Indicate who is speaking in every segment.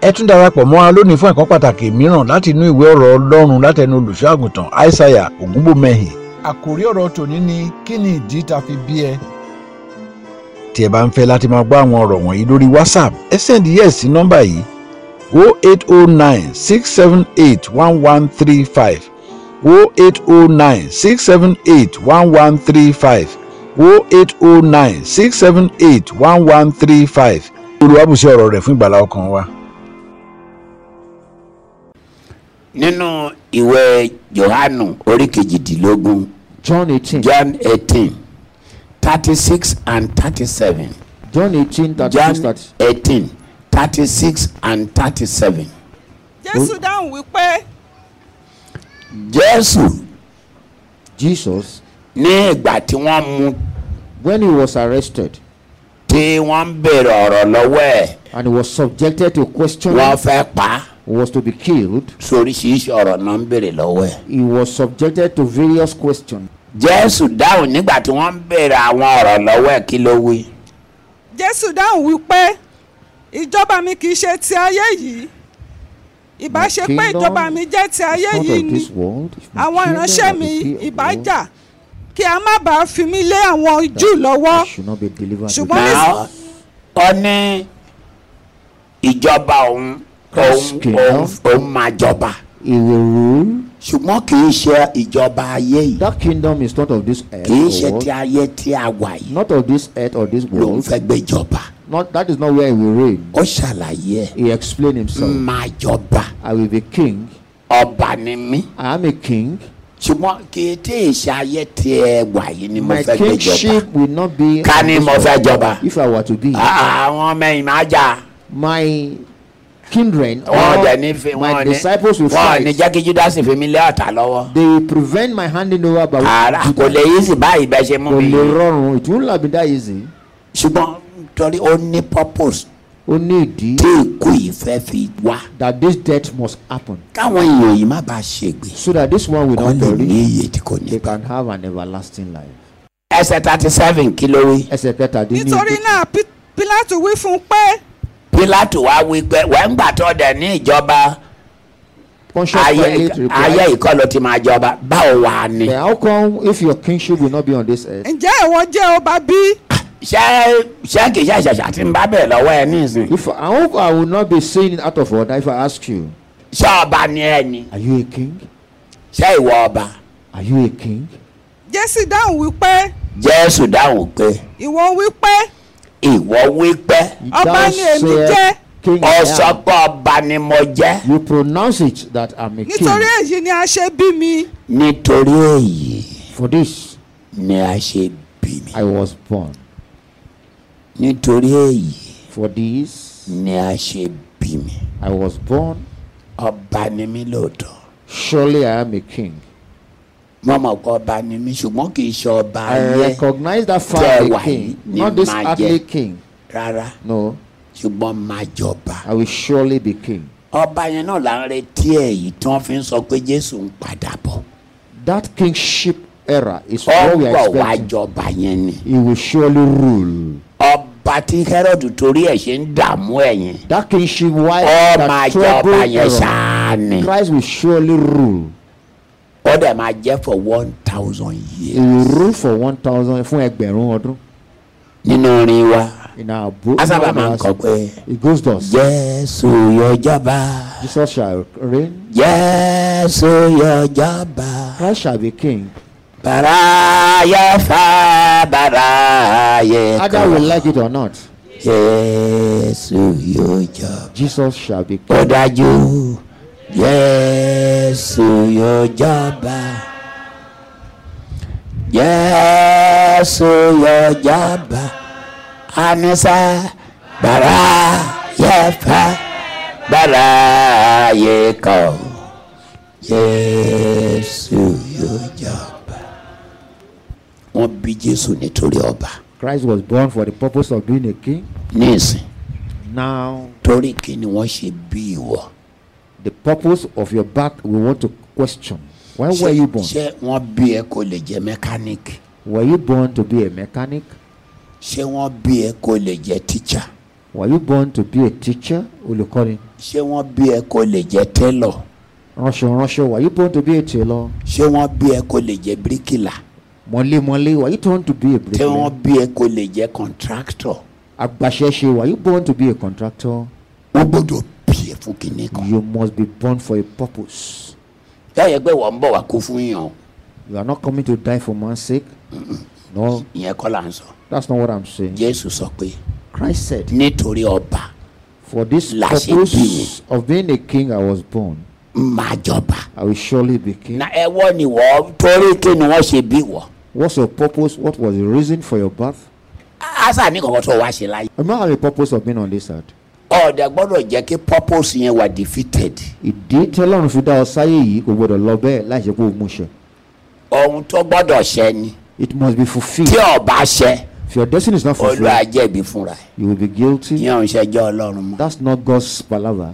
Speaker 1: ẹ tún darapọ̀ mọ́ wa lónìí fún ẹ̀kọ́ pàtàkì mìíràn láti inú ìwé ọ̀rọ̀ ọlọ́run látẹnu olùṣọ́àgùntàn aishaiya ògúnbòmẹ́hìn. àkòrí ọ̀rọ̀ tòní ni kí ni ìdí ta fi bí ẹ. tí ẹ bá ń fẹ́ láti máa gbọ́ àwọn ọ̀rọ̀ wọ̀nyí lórí whatsapp ẹ sẹ́ndí yẹ̀ sí nọ́mbà yìí 08096781135 08096781135 08096781135 olùwàbùsẹ̀ ọ̀rọ̀ rẹ̀ fún ìgbàlá ọkàn wa.
Speaker 2: nínú ìwé Jòhánù orí kejìdínlógún
Speaker 3: John 18,
Speaker 2: John eighteen thirty six and thirty seven
Speaker 3: John 18, 36,
Speaker 2: John
Speaker 3: 30.
Speaker 2: eighteen thirty six and thirty seven
Speaker 4: jésù dáhùn wípé
Speaker 2: Jésù
Speaker 3: Jesus,
Speaker 2: ní ìgbà tí wọ́n mú
Speaker 3: when he was arrested
Speaker 2: tí wọ́n ń béèrè ọ̀rọ̀ lọ́wọ́ ẹ̀
Speaker 3: and he was subjected to questioning,
Speaker 2: wọ́n fẹ́ pa á
Speaker 3: was to be killed,
Speaker 2: sóríṣiríṣi ọ̀rọ̀ náà ń béèrè lọ́wọ́ ẹ̀.
Speaker 3: he was subjected to various questions.
Speaker 2: Jésù dáhùn nígbà tí wọ́n ń béèrè àwọn ọ̀rọ̀ lọ́wọ́ ẹ̀ kí ló wí.
Speaker 4: jésù dáhùn wípé ìjọba mi kì í ṣe ti ayé yìí ìbá ṣe
Speaker 3: My
Speaker 4: pé
Speaker 3: kingdom
Speaker 4: ìjọba mi jẹ́ ti ayé
Speaker 3: Not
Speaker 4: yìí
Speaker 3: of
Speaker 4: ni
Speaker 3: this world. If my
Speaker 4: àwọn
Speaker 3: children
Speaker 4: ìránṣẹ́
Speaker 3: are
Speaker 4: mi
Speaker 3: the fear of
Speaker 4: ìbá
Speaker 3: the Lord,
Speaker 4: jà kí a má bàa fi mí lé àwọn jù lọ́wọ́
Speaker 3: I should not be delivered. to
Speaker 4: Ṣùgbọ́n-
Speaker 3: them.
Speaker 2: Now, ó ní ìjọba òun òun òun òun máa jọba
Speaker 3: He will rule.
Speaker 2: ṣùgbọ́n kì í ṣe ìjọba ayé yìí
Speaker 3: That kingdom is not of this earth.
Speaker 2: kì í
Speaker 3: or
Speaker 2: ṣe
Speaker 3: world,
Speaker 2: ti ayé tí a wà yìí
Speaker 3: Not of this earth or this
Speaker 2: lòun
Speaker 3: world.
Speaker 2: fẹ́ gbé jọba
Speaker 3: Not that is not where he will reign.
Speaker 2: ó ṣàlàyé ẹ̀
Speaker 3: He explained himself.
Speaker 2: máa jọba
Speaker 3: I will be king.
Speaker 2: ọba ni mí
Speaker 3: I am a king.
Speaker 2: ṣùgbọ́n kì í tí ì ṣe ayé tí ẹ wà yìí ni mo
Speaker 3: My
Speaker 2: fẹ́ gbé jọba
Speaker 3: kingship will not be.
Speaker 2: ká ní mo fẹ́ jọba
Speaker 3: If I were to be,
Speaker 2: Ah, àwọn ọmọ ẹ̀yìn máa jà
Speaker 3: my kindred,
Speaker 2: wọn ò
Speaker 3: all
Speaker 2: dẹ̀ ní fi wọn ò
Speaker 3: my
Speaker 2: ní
Speaker 3: disciples will
Speaker 2: wọn ò ní
Speaker 3: fight.
Speaker 2: jẹ́ kí Judas fi mí lé ọ̀tá lọ́wọ́.
Speaker 3: They will prevent my handing over by
Speaker 2: ara kò lè yí sí báyìí bẹ́ẹ̀ ṣe mú
Speaker 3: kò
Speaker 2: mi
Speaker 3: lè
Speaker 2: yìí.
Speaker 3: rọrùn. It won't have been that easy.
Speaker 2: ṣùgbọ́n torí ó ní purpose
Speaker 3: Ó ní ìdí
Speaker 2: tí ikú yìí fẹ́ fi wá
Speaker 3: that this death must happen
Speaker 2: káwọn èèyàn yìí má bàa ṣègbè
Speaker 3: so that this one will
Speaker 2: kọ́
Speaker 3: not
Speaker 2: lè ní
Speaker 3: perish.
Speaker 2: iye tí kò ní
Speaker 3: They
Speaker 2: bá.
Speaker 3: can have an everlasting life.
Speaker 2: ẹsẹ̀ thirty seven kí ló wí.
Speaker 3: Ẹsẹ̀ kẹta dín ní
Speaker 4: nítorí náà Pi- pílátù wí fún un pé
Speaker 2: Pilato wá wí pé wẹ́ngbà tó dẹ̀ ní ìjọba
Speaker 3: Pontius
Speaker 2: ayé
Speaker 3: Pilate replied,
Speaker 2: ayé ìkọlù ti máa jọba báwo wà á ní.
Speaker 3: Then how come if your kingship will not be on this earth,
Speaker 4: ǹjẹ́ ìwọ jẹ́ ọba bí
Speaker 2: ṣé ṣé kì í ṣe àṣàṣà tí ń bá bẹ̀ lọ́wọ́ ẹ nísìn.
Speaker 3: if I hope I will not be saying it out of order if I ask you,
Speaker 2: ṣé ọba ni ẹ ni
Speaker 3: Are you a king?
Speaker 2: ṣé ìwọ ọba.
Speaker 3: Are you a king?
Speaker 4: jésù dáhùn wípé
Speaker 2: Jésù dáhùn pé
Speaker 4: ìwọ wípé
Speaker 2: ìwọ wí pé
Speaker 4: Ọba
Speaker 3: Thou
Speaker 4: ni èmi
Speaker 3: sayest,
Speaker 4: jẹ́.
Speaker 3: King
Speaker 2: ó
Speaker 3: I am."
Speaker 2: sọ pé ọba ni mo jẹ́.
Speaker 3: You pronounce it that I'm a king.
Speaker 4: nítorí èyí ni a ṣe bí mi
Speaker 2: nítorí èyí
Speaker 3: For this
Speaker 2: ni a ṣe bí mi
Speaker 3: I was born.
Speaker 2: nítorí èyí
Speaker 3: For this
Speaker 2: ni a ṣe bí mi
Speaker 3: I was born.
Speaker 2: ọba ni mí lóòótọ́
Speaker 3: Surely I am a king.
Speaker 2: mo mọ̀ pé ọba ni mí ṣùgbọ́n kì í ṣe ọba
Speaker 3: I
Speaker 2: ayé
Speaker 3: recognize that
Speaker 2: Tell
Speaker 3: father
Speaker 2: why
Speaker 3: king,
Speaker 2: ni
Speaker 3: not this
Speaker 2: ma jẹ.
Speaker 3: earthly king.
Speaker 2: rárá
Speaker 3: No,
Speaker 2: ṣùgbọ́n máa jọba
Speaker 3: I will surely be king.
Speaker 2: ọba yẹn náà là ń retí èyí tí wọ́n fi ń sọ pé Jésù ń padà bọ̀
Speaker 3: That kingship era is what we
Speaker 2: ọgbọ̀
Speaker 3: are
Speaker 2: wá
Speaker 3: expecting.
Speaker 2: jọba yẹn ni
Speaker 3: He will surely rule.
Speaker 2: ọba tí Herod torí ẹ̀ ṣe ń dààmú ẹ̀yìn
Speaker 3: That kingship why
Speaker 2: ọ máa
Speaker 3: that
Speaker 2: jẹ ọba
Speaker 3: trouble
Speaker 2: yẹn
Speaker 3: era.
Speaker 2: ṣáá ni
Speaker 3: Christ will surely rule.
Speaker 2: ó dẹ̀ máa jẹ́ for one thousand
Speaker 3: He
Speaker 2: years
Speaker 3: will rule for one thousand fún ẹgbẹ̀rún ọdún.
Speaker 2: nínú orin wa.
Speaker 3: In our book,
Speaker 2: a sábà máa ń kọ pé
Speaker 3: it goes thus.
Speaker 2: jésù yóò jọba
Speaker 3: Jesus shall reign.
Speaker 2: jésù yóò jọba
Speaker 3: Christ shall be king.
Speaker 2: bàrà yẹ fà bàrà yẹ
Speaker 3: Either we
Speaker 2: kọ
Speaker 3: like it or not,
Speaker 2: jésù yóò jọba
Speaker 3: Jesus shall be
Speaker 2: ó
Speaker 3: king.
Speaker 2: dájú jésù yóò jọba jésù yóò jọba anisa bàrà yẹ fà bàrà yẹ kọ jésù yóò jọba. wọ́n bí jésù nítorí ọba
Speaker 3: Christ was born for the purpose of being a king.
Speaker 2: nísìn
Speaker 3: Now,
Speaker 2: torí kí ni wọ́n ṣe bí ìwọ.
Speaker 3: the purpose of your birth, we want to question. Why were you born?
Speaker 2: ṣé wọ́n bí ẹ kó lè jẹ́ mẹkáníìkì.
Speaker 3: Were you born to be a mechanic?
Speaker 2: ṣé wọ́n bí ẹ kó lè jẹ́ tíṣà.
Speaker 3: Were you born to be a teacher? Olùkọ́ni.
Speaker 2: ṣé wọ́n bí ẹ kó lè jẹ́ tẹ́lọ̀
Speaker 3: Ránṣọ ránṣọ. Were you born to be a tailor?
Speaker 2: ṣé wọ́n bí ẹ kó lè jẹ́ bíríkìlà
Speaker 3: Mọ̀lé mọ̀lé. Were you born to be a
Speaker 2: ṣé wọ́n
Speaker 3: bricklayer?
Speaker 2: bí ẹ kó lè jẹ́ kọ̀ǹtráktọ̀
Speaker 3: Agbaṣẹ́ṣe. Were you born to be a contractor?
Speaker 2: wọ́n gbọ́dọ̀ bí ẹ fún kinní kan.
Speaker 3: You must be born for a purpose.
Speaker 2: táyà pé wọ́n ń bọ̀ wá kú fún yàn
Speaker 3: You are not coming to die for man's sake. No,
Speaker 2: ìyẹn kọ́ là ń sọ
Speaker 3: that's not what I'm saying.
Speaker 2: jésù sọ pé
Speaker 3: Christ said,
Speaker 2: nítorí ọba
Speaker 3: For this
Speaker 2: Láṣẹ
Speaker 3: purpose of being a king, I was born.
Speaker 2: máa jọba
Speaker 3: I will surely be king.
Speaker 2: na ẹ wọ́n ni wọ́n torí kí ni wọ́n ṣe bí wọ́
Speaker 3: What's your purpose? What was the reason for your birth?
Speaker 2: ásà ní kọ̀kọ́ tó wá ṣe láyé
Speaker 3: I might have a purpose of being on this earth.
Speaker 2: ọ̀dẹ gbọ́dọ̀ jẹ́ kí purpose yẹn wà defeated
Speaker 3: Ìdí tẹ́lọ́run fi dá ọ sáyé yìí kò gbọdọ̀ lọ bẹ́ẹ̀ láì ṣe pé o mú ṣe.
Speaker 2: ohun tó gbọ́dọ̀ ṣẹ ni
Speaker 3: It must be
Speaker 2: tí
Speaker 3: fulfilled.
Speaker 2: ọba ṣẹ
Speaker 3: If your destiny is not
Speaker 2: olúwa
Speaker 3: fulfilled,
Speaker 2: jẹ̀bi fúnra ẹ̀
Speaker 3: you will be guilty.
Speaker 2: ìyẹn ò ń ṣẹjọ́ ọlọ́run mọ́
Speaker 3: That's not God's palaver.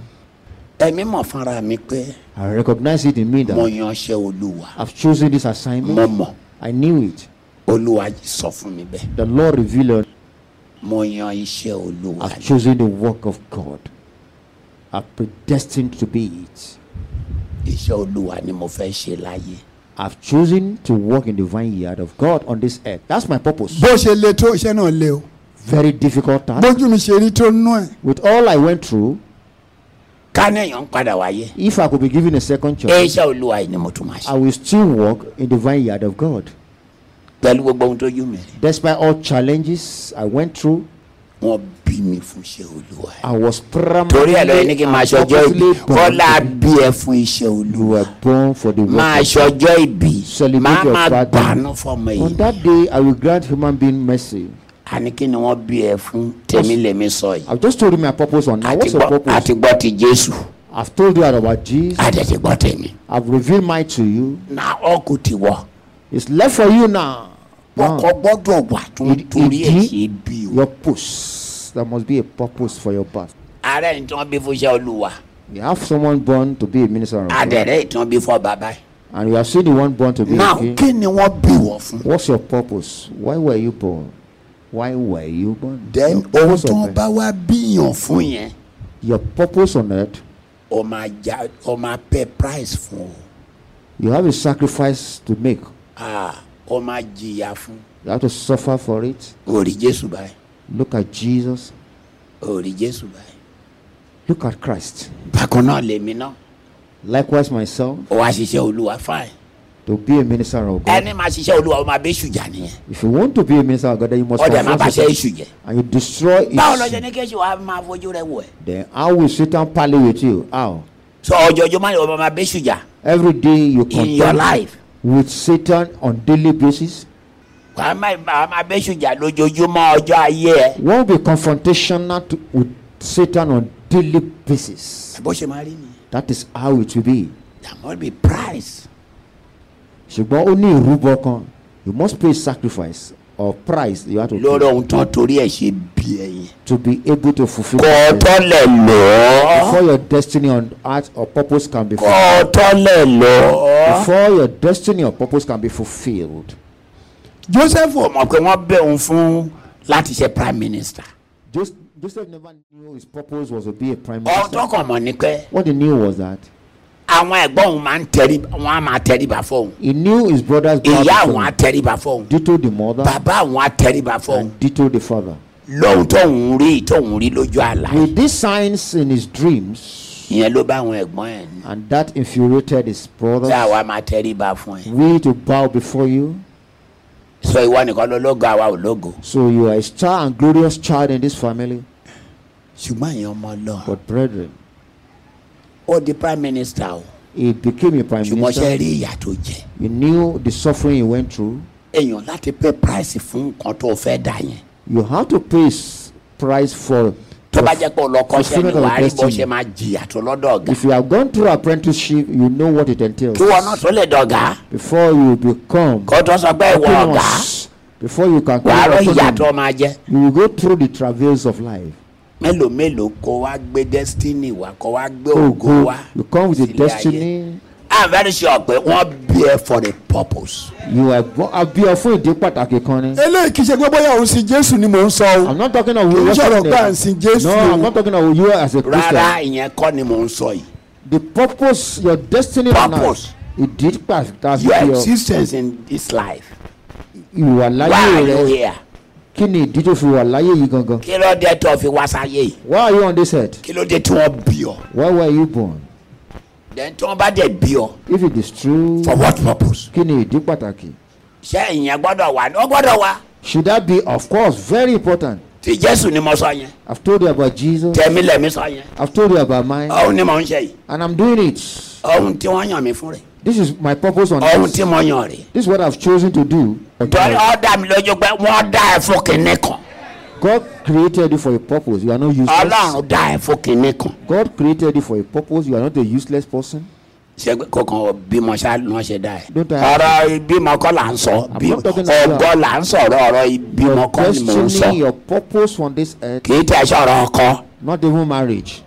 Speaker 2: ẹ̀mí mọ̀ fúnra mi pé
Speaker 3: I recognize it in me
Speaker 2: mo
Speaker 3: that
Speaker 2: yan ṣe olúwa
Speaker 3: I've chosen this
Speaker 2: mo
Speaker 3: assignment.
Speaker 2: mọ̀
Speaker 3: I knew it.
Speaker 2: olúwa sọ fún mi bẹ́ẹ̀
Speaker 3: The Lord revealed
Speaker 2: mo yan iṣẹ́ olúwa
Speaker 3: I've chosen the work of God. I'm predestined to be it.
Speaker 2: iṣẹ́ olúwa ni mo fẹ́ ṣe láyé
Speaker 3: I've chosen to work in the vineyard of God on this earth. That's my purpose.
Speaker 5: bó ṣe le tó iṣẹ́ náà le o
Speaker 3: Very difficult task.
Speaker 5: bójú mi ṣe rí tó nú ẹ̀
Speaker 3: With all I went through,
Speaker 2: ká ní èèyàn ń padà wáyé
Speaker 3: if I could be given a second chance,
Speaker 2: iṣẹ́ olúwa yìí ni mo tún máa
Speaker 3: I
Speaker 2: ṣe
Speaker 3: will still work in the vineyard of God.
Speaker 2: pẹ̀lú gbogbo ohun tó yú mi rí
Speaker 3: Despite all challenges I went through,
Speaker 2: wọ́n bí mi fún iṣẹ́ olúwa yìí.
Speaker 3: I was
Speaker 2: torí ẹ̀ lóye
Speaker 3: primarily
Speaker 2: ní kí n
Speaker 3: and
Speaker 2: máa ṣọjọ́ ìbí
Speaker 3: purposely born.
Speaker 2: kọ́lá bí ẹ fún iṣẹ́
Speaker 3: You
Speaker 2: olúwa
Speaker 3: were born for the
Speaker 2: máa
Speaker 3: work. of-
Speaker 2: ṣọjọ́ ìbí
Speaker 3: Celebrate
Speaker 2: máa
Speaker 3: your
Speaker 2: máa
Speaker 3: birthday.
Speaker 2: gbàánú fọmọ
Speaker 3: On
Speaker 2: yìí
Speaker 3: that day, I will grant human being mercy.
Speaker 2: àní kí ni wọ́n bí ẹ fún tèmi lèmi sọ yìí
Speaker 3: I've just told you my purpose on now.
Speaker 2: àti
Speaker 3: What's your
Speaker 2: gbọ́
Speaker 3: purpose?
Speaker 2: àti gbọ́ ti jésù
Speaker 3: I've told you about Jesus.
Speaker 2: àti ti gbọ́ tèmi
Speaker 3: I've revealed mine to you.
Speaker 2: na ọkù ti wọ
Speaker 3: It's left for you now.
Speaker 2: ọkọ
Speaker 3: Now,
Speaker 2: gbọ́dọ̀ wà tó ń
Speaker 3: it-
Speaker 2: torí ẹ̀
Speaker 3: it-
Speaker 2: ṣe bí o
Speaker 3: your purpose. There must be a purpose for your birth.
Speaker 2: ara ẹ̀ tí wọ́n bí fún iṣẹ́ olúwa
Speaker 3: You have someone born to be a minister of God,
Speaker 2: adẹ̀rẹ̀ ẹ̀ tí wọ́n bí fún bàbá yìí
Speaker 3: and you have seen the one born to be
Speaker 2: náà
Speaker 3: a king.
Speaker 2: kí ni wọ́n bí wọ́ fún
Speaker 3: What's your purpose? Why were you born? Why were you born?
Speaker 2: then
Speaker 3: your,
Speaker 2: ohun
Speaker 3: purpose
Speaker 2: tó
Speaker 3: on
Speaker 2: ń
Speaker 3: earth,
Speaker 2: bá wá bíyàn fún yẹn
Speaker 3: your purpose on earth,
Speaker 2: ó máa já ó máa pay price fún o.
Speaker 3: you have a sacrifice to make.
Speaker 2: Ah, ó máa jìyà fún
Speaker 3: You have to suffer for it.
Speaker 2: orí jésù báyìí
Speaker 3: Look at Jesus.
Speaker 2: orí jésù báyìí.
Speaker 3: Look at Christ.
Speaker 2: bákan náà lèmi náà
Speaker 3: Likewise, myself,
Speaker 2: ó wá ṣiṣẹ́ olúwa fine.
Speaker 3: to be a minister of God.
Speaker 2: ẹni máa ṣiṣẹ́ olúwa ó máa bẹ́ ṣùjà nìyẹn
Speaker 3: If you want to be a minister of God, then you must
Speaker 2: ó dẹ̀ máa
Speaker 3: confront
Speaker 2: bàṣẹ́
Speaker 3: Satan
Speaker 2: èṣù jẹ́.
Speaker 3: and you destroy
Speaker 2: báwo lọ ṣe
Speaker 3: it.
Speaker 2: ní kí èṣù wa máa fojú rẹ wò ẹ́.
Speaker 3: Then how will Satan parley with you? How?
Speaker 2: sọ ọjọ́júmọ́ ni ó máa bẹ́ ṣùjà
Speaker 3: Every day you
Speaker 2: in your
Speaker 3: contend
Speaker 2: life
Speaker 3: with Satan on daily basis.
Speaker 2: wàá máa wàá máa bẹ́ ṣùjà lójoojúmọ́ ọjọ́ ayé ẹ.
Speaker 3: One will be confrontational to, with Satan on daily basis.
Speaker 2: bó ṣe máa rí nìyẹn.
Speaker 3: That is how it will be.
Speaker 2: there must be price.
Speaker 3: ṣùgbọ́n ó ní ìrúbọ kan you must pay sacrifice or price you have to
Speaker 2: lórí
Speaker 3: pay
Speaker 2: ohun tán torí ẹ̀ ṣe bí ẹyin.
Speaker 3: to be able to fulfil
Speaker 2: kò
Speaker 3: your destiny.
Speaker 2: tó lẹ̀ lọ́ọ́.
Speaker 3: before your destiny on earth or purpose can be fulfilled.
Speaker 2: kò tó lẹ̀ lọ́ọ́.
Speaker 3: before your destiny or purpose can be fulfilled.
Speaker 2: joseph ò mọ̀ pé wọ́n bẹ̀ òun fún láti ṣe prime minister.
Speaker 3: Jos- Joseph never knew his purpose was to be a prime
Speaker 2: ọ̀hún
Speaker 3: minister.
Speaker 2: tó kàn mọ̀ ni pé
Speaker 3: What he knew was that
Speaker 2: àwọn ẹ̀gbọ́n òun máa ń tẹrí wọn á máa tẹríba fóun.
Speaker 3: he knew his brother's
Speaker 2: ìyá
Speaker 3: bad
Speaker 2: àwọn á
Speaker 3: form.
Speaker 2: tẹríba fóun.
Speaker 3: Ditto the mother
Speaker 2: bàbá àwọn á tẹríba fóun.
Speaker 3: and ditto the father.
Speaker 2: lóhun tóun rí tóun rí lójú àlá.
Speaker 3: With these signs in his dreams,
Speaker 2: ìyẹn ló bá àwọn ẹ̀gbọ́n ẹ̀ ní.
Speaker 3: and that infuriated his
Speaker 2: ṣé
Speaker 3: brothers,
Speaker 2: àwa máa tẹríba fún ẹ.
Speaker 3: we to bow before you.
Speaker 2: sọ ìwọ nìkan lológo àwa ò lógo.
Speaker 3: So you are a star and glorious child in this family.
Speaker 2: ṣùgbọ́n ìyẹn ọmọ lọ.
Speaker 3: But brethren,
Speaker 2: ó di prime minister o.
Speaker 3: he became a prime
Speaker 2: ṣùgbọ́n ṣe
Speaker 3: minister.
Speaker 2: rí ìyà tó jẹ.
Speaker 3: He knew the suffering he went through.
Speaker 2: èèyàn láti pay price fún nǹkan tó fẹ́ dà yẹn.
Speaker 3: You have to pay s- price for.
Speaker 2: tó bá jẹ́ pé ọlọ́kọ́ṣẹ́ ni
Speaker 3: fulfillment of
Speaker 2: wàá rí bó
Speaker 3: destiny.
Speaker 2: ṣe máa jìyà tó lọ́dọ̀ ọ̀gá.
Speaker 3: If you have gone through apprenticeship, you know what it entails.
Speaker 2: kí wọn náà tó lè dọ̀gá
Speaker 3: Before you become
Speaker 2: kó tó sọ pé ìwọ ọ̀gá
Speaker 3: autonomous, before you can
Speaker 2: wàá rọ
Speaker 3: claim
Speaker 2: ìyà tó
Speaker 3: autonomy,
Speaker 2: máa jẹ́.
Speaker 3: you will go through the travails of life.
Speaker 2: mélòó mélòó kó wá gbé destiny wá kó wá gbé
Speaker 3: Oh,
Speaker 2: ògo
Speaker 3: go.
Speaker 2: wá.
Speaker 3: You come with a
Speaker 2: sílé ayé.
Speaker 3: destiny.
Speaker 2: a am very sure pé wọ́n bí ẹ for a purpose.
Speaker 3: You are born a bí ọ fún ìdí pàtàkì kan ni.
Speaker 5: eléyìí kì í ṣe pé bóyá òun sin jésù ni mò ń sọ o
Speaker 3: I'm not talking of you.
Speaker 5: Kì í sọ̀rọ̀
Speaker 3: worshiping
Speaker 5: pé à
Speaker 3: them.
Speaker 5: ń sin Jésù
Speaker 3: No,
Speaker 5: o.
Speaker 3: I'm not talking of you as a Christian.
Speaker 2: rárá ìyẹn kọ́ ni mò ń sọ yìí.
Speaker 3: The purpose, your destiny
Speaker 2: Purpose.
Speaker 3: now. Ìdí pàtàkì
Speaker 2: your
Speaker 3: ọ.
Speaker 2: existence in this life. why
Speaker 3: Ìwà láyé
Speaker 2: are you
Speaker 3: rẹ.
Speaker 2: here.
Speaker 3: Kí ni ìdí tó fi wà láyé yìí gangan?
Speaker 2: kí ló dé tó fi wá sáyé yìí.
Speaker 3: Why are you on this earth?
Speaker 2: kí ló dé tí wọ́n bí ọ.
Speaker 3: Why were you born?
Speaker 2: then tí wọ́n bá dẹ̀ bí ọ.
Speaker 3: If it is true,
Speaker 2: for what purpose.
Speaker 3: kí ni ìdí pàtàkì?
Speaker 2: ṣé ìyẹn gbọ́dọ̀ wà ní ó gbọ́dọ̀ wà.
Speaker 3: Should that be, of course, very important?
Speaker 2: ti jésù ni mo sọ yẹn.
Speaker 3: I've told you about Jesus.
Speaker 2: tẹ̀mí lẹ̀mí sọ yẹn.
Speaker 3: I've told you about mine.
Speaker 2: ohun ni mò ń ṣe yìí.
Speaker 3: And I'm doing it.
Speaker 2: ohun tí wọ́n yàn mí fún rẹ̀.
Speaker 3: This is my purpose on
Speaker 2: ohun
Speaker 3: earth.
Speaker 2: tí mo yàn rẹ̀.
Speaker 3: This is what I've chosen to do.
Speaker 2: torí ọ dá mi lójú pé wọ́n dá ẹ fún kinní kan.
Speaker 3: God created you for a purpose. You are not useless.
Speaker 2: ọlọ́run dá ẹ fún kinní kan.
Speaker 3: God created you for a purpose. You are not a useless person.
Speaker 2: ṣé pé kọkàn bímọ ṣá ni wọ́n ṣe dá ẹ.
Speaker 3: Don't I-
Speaker 2: ọ̀rọ̀ ìbímọ kọ́ là ń sọ
Speaker 3: not talking about-
Speaker 2: ọgọ́ là ń sọ̀rọ̀ ọ̀rọ̀ ìbímọ
Speaker 3: Your
Speaker 2: kọ́ ni mò ń
Speaker 3: destiny,
Speaker 2: sọ.
Speaker 3: your purpose on this earth,
Speaker 2: kì í tẹ̀ sọ̀rọ̀ ọkọ
Speaker 3: not even marriage.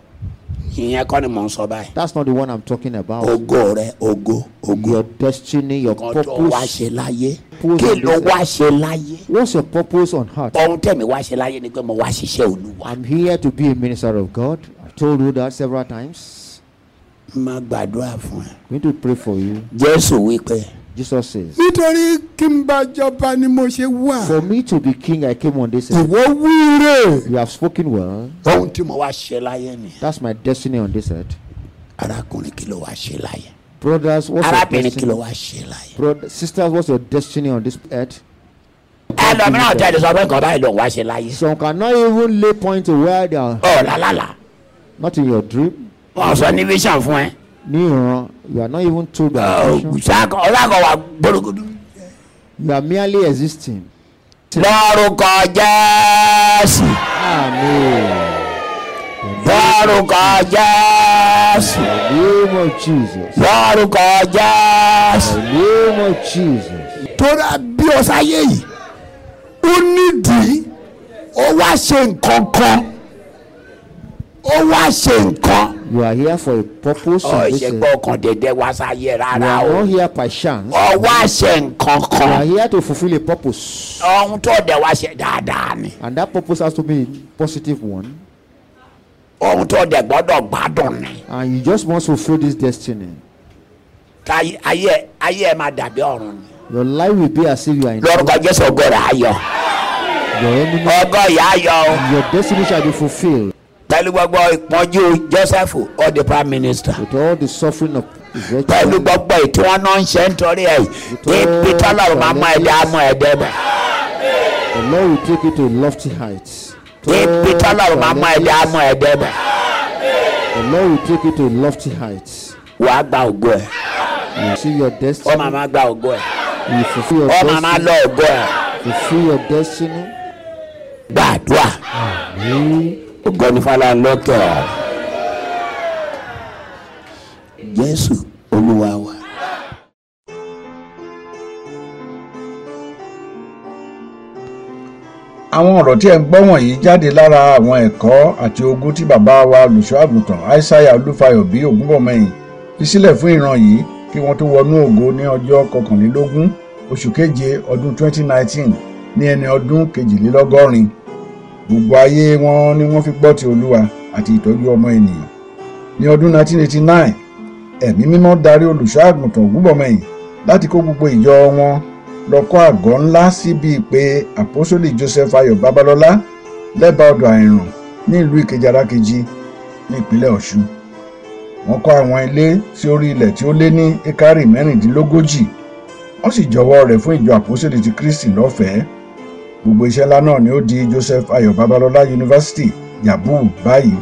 Speaker 2: ìyẹn kọ́ ni mò ń sọ báyìí.
Speaker 3: That's not the one I'm talking about.
Speaker 2: ogo rẹ ogo ogo.
Speaker 3: Your destiny, your
Speaker 2: kan tó wá
Speaker 3: purpose.
Speaker 2: ṣe láyé
Speaker 3: Purpose
Speaker 2: kí
Speaker 3: and
Speaker 2: ló
Speaker 3: desire.
Speaker 2: wá ṣe láyé
Speaker 3: What's your purpose on earth?
Speaker 2: ohun tẹ̀mí wá ṣe láyé ni pé mo wá ṣiṣẹ́ olúwa.
Speaker 3: I'm here to be a minister of God. I've told you that several times.
Speaker 2: máa gbàdúrà fún ẹ.
Speaker 3: I'm going to pray for you.
Speaker 2: jésù wípé
Speaker 3: Jesus says,
Speaker 5: nítorí kí n bá jọba ni mo ṣe wà
Speaker 3: For me to be king, I came on this earth.
Speaker 5: ìwọ wúre
Speaker 3: You have spoken well.
Speaker 2: ohun tí mo wá ṣe láyé ni
Speaker 3: That's my destiny on this earth.
Speaker 2: arákùnrin kí ló wá ṣe láyé
Speaker 3: Brothers, what's your
Speaker 2: arábìnrin kí ló
Speaker 3: destiny?
Speaker 2: wá ṣe láyé.
Speaker 3: Brother, sisters, what's your destiny on this earth?
Speaker 2: ẹlòmíràn tẹ̀lé sọ pé nǹkan báyìí ló ń wá ṣe láyé.
Speaker 3: Some cannot even lay point to where they are.
Speaker 2: ọ̀ làlálà
Speaker 3: Not in your dream.
Speaker 2: wọn sọ ní vision fún ẹ.
Speaker 3: Near, you are not even told by
Speaker 2: Oh,
Speaker 3: the vision.
Speaker 2: ṣáàkọ ọlákọ wa gbólógódó.
Speaker 3: You are merely existing.
Speaker 2: lórúkọ jésù
Speaker 3: Amen.
Speaker 2: lórúkọ jésù
Speaker 3: The name of Jesus.
Speaker 2: lórúkọ jésù.
Speaker 3: The name of Jesus.
Speaker 2: tóra bí ọ sáyé yìí ó nídìí ó wá ṣe nǹkan kan ó wá ṣe nǹkan.
Speaker 3: You are here for a purpose.
Speaker 2: ọ
Speaker 3: on this
Speaker 2: Oh, ṣe
Speaker 3: earth.
Speaker 2: pé ọkàn dédé wá sáyé
Speaker 3: You
Speaker 2: rárá
Speaker 3: are
Speaker 2: o
Speaker 3: not here by chance.
Speaker 2: ọ wá ṣe nǹkan
Speaker 3: You are
Speaker 2: kan
Speaker 3: here to fulfill a purpose.
Speaker 2: ohun tó dẹ̀ wá ṣe dáadáa ni
Speaker 3: And that purpose has to be a positive one.
Speaker 2: ohun tó dẹ̀ gbọ́dọ̀ gbádùn ni
Speaker 3: And you just must fulfill this destiny.
Speaker 2: ká ayé ẹ- ayé ẹ máa dàbí ọ̀run ni
Speaker 3: Your life will be as if you are in your
Speaker 2: lórúkọ jésù ògo rẹ̀ ayọ̀
Speaker 3: enemy.
Speaker 2: ògo ìyá ayọ̀ o
Speaker 3: Your destiny shall be fulfilled
Speaker 2: pẹ̀lú gbogbo ìpọ́njú joseph ó di prime minister.
Speaker 3: with all the suffering of the
Speaker 2: pẹ̀lú
Speaker 3: wretched.
Speaker 2: gbogbo ètò wọn náà ń ṣe nítorí ẹ̀ ibi tọ́lọ́run máa mọ ẹ̀dá mọ ẹ̀dá bẹ̀
Speaker 3: The Lord will take you to lofty heights.
Speaker 2: ibi
Speaker 3: Tall
Speaker 2: tọ́lọ́run máa mọ ẹ̀dá mọ
Speaker 3: challenges.
Speaker 2: ẹ̀dá bẹ̀
Speaker 3: The Lord will take you to lofty heights.
Speaker 2: wàá gba ògo ẹ̀
Speaker 3: You see your
Speaker 2: ó
Speaker 3: destiny.
Speaker 2: máa máa gba ògo ẹ̀
Speaker 3: You fulfill your
Speaker 2: ó máa máa
Speaker 3: destiny.
Speaker 2: lọ ògo ẹ̀
Speaker 3: Fulfill your destiny.
Speaker 2: gbàdúrà ògo ní fọlọ́run lókè ọ̀ jésù olúwa wa.
Speaker 1: àwọn ọ̀rọ̀ tí ẹ̀ ń gbọ́ wọ̀nyí jáde lára àwọn ẹ̀kọ́ àti ogun tí bàbá wa olùṣọ́àgùntàn aishaiya olúfayọ bí ògúnbọ̀mọyìn fi sílẹ̀ fún ìran yìí kí wọ́n tó wọnú ògo ní ọjọ́ kọkànlélógún oṣù keje ọdún 2019 ní ẹni ọdún kejìlélọ́gọ́rin gbogbo ayé wọn ni wọ́n fi gbọ́ ti olúwa àti ìtọ́jú ọmọ ènìyàn ní ọdún 1989 ẹ̀mí mímọ́ darí olùṣọ́àgùntàn ògúnbọ̀mọyìn láti kó gbogbo ìjọ wọn lọ́kọ́ àgọ́ ńlá síbi ìpè àpọ́sólì joseph ayọ̀ babalọ́lá lẹ́bàá ọ̀dọ̀ àìrùn ní ìlú ìkejì arákejì ní ìpínlẹ̀ ọ̀ṣun. wọ́n kọ́ àwọn ilé sí orí ilẹ̀ tí ó lé ní ekari mẹ́rìndínlógójì wọ́n sì jọwọ́ rẹ̀ fún ìjọ àpọ́sólì ti kristi lọ́fẹ̀ẹ́. gbogbo iṣẹ́ ńlá náà ni ó di joseph ayọ̀ babalọ́lá yunifásitì yabu báyìí.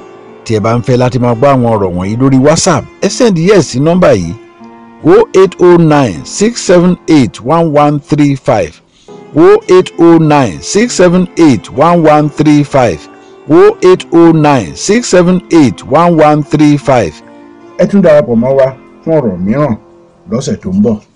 Speaker 1: tí ẹ bá ń fẹ́ láti máa gbọ́ àwọn ọ̀rọ̀ wọ̀nyí lórí whatsapp ẹ sẹ́ndí yẹ̀ sí nọ́mbà yìí 0809 678 1135 0809 678 1135 0809 678 1135. ẹ tún darapọ̀ mọ́ wa fún ọ̀rọ̀ mìíràn lọ́sẹ̀ tó ń bọ̀.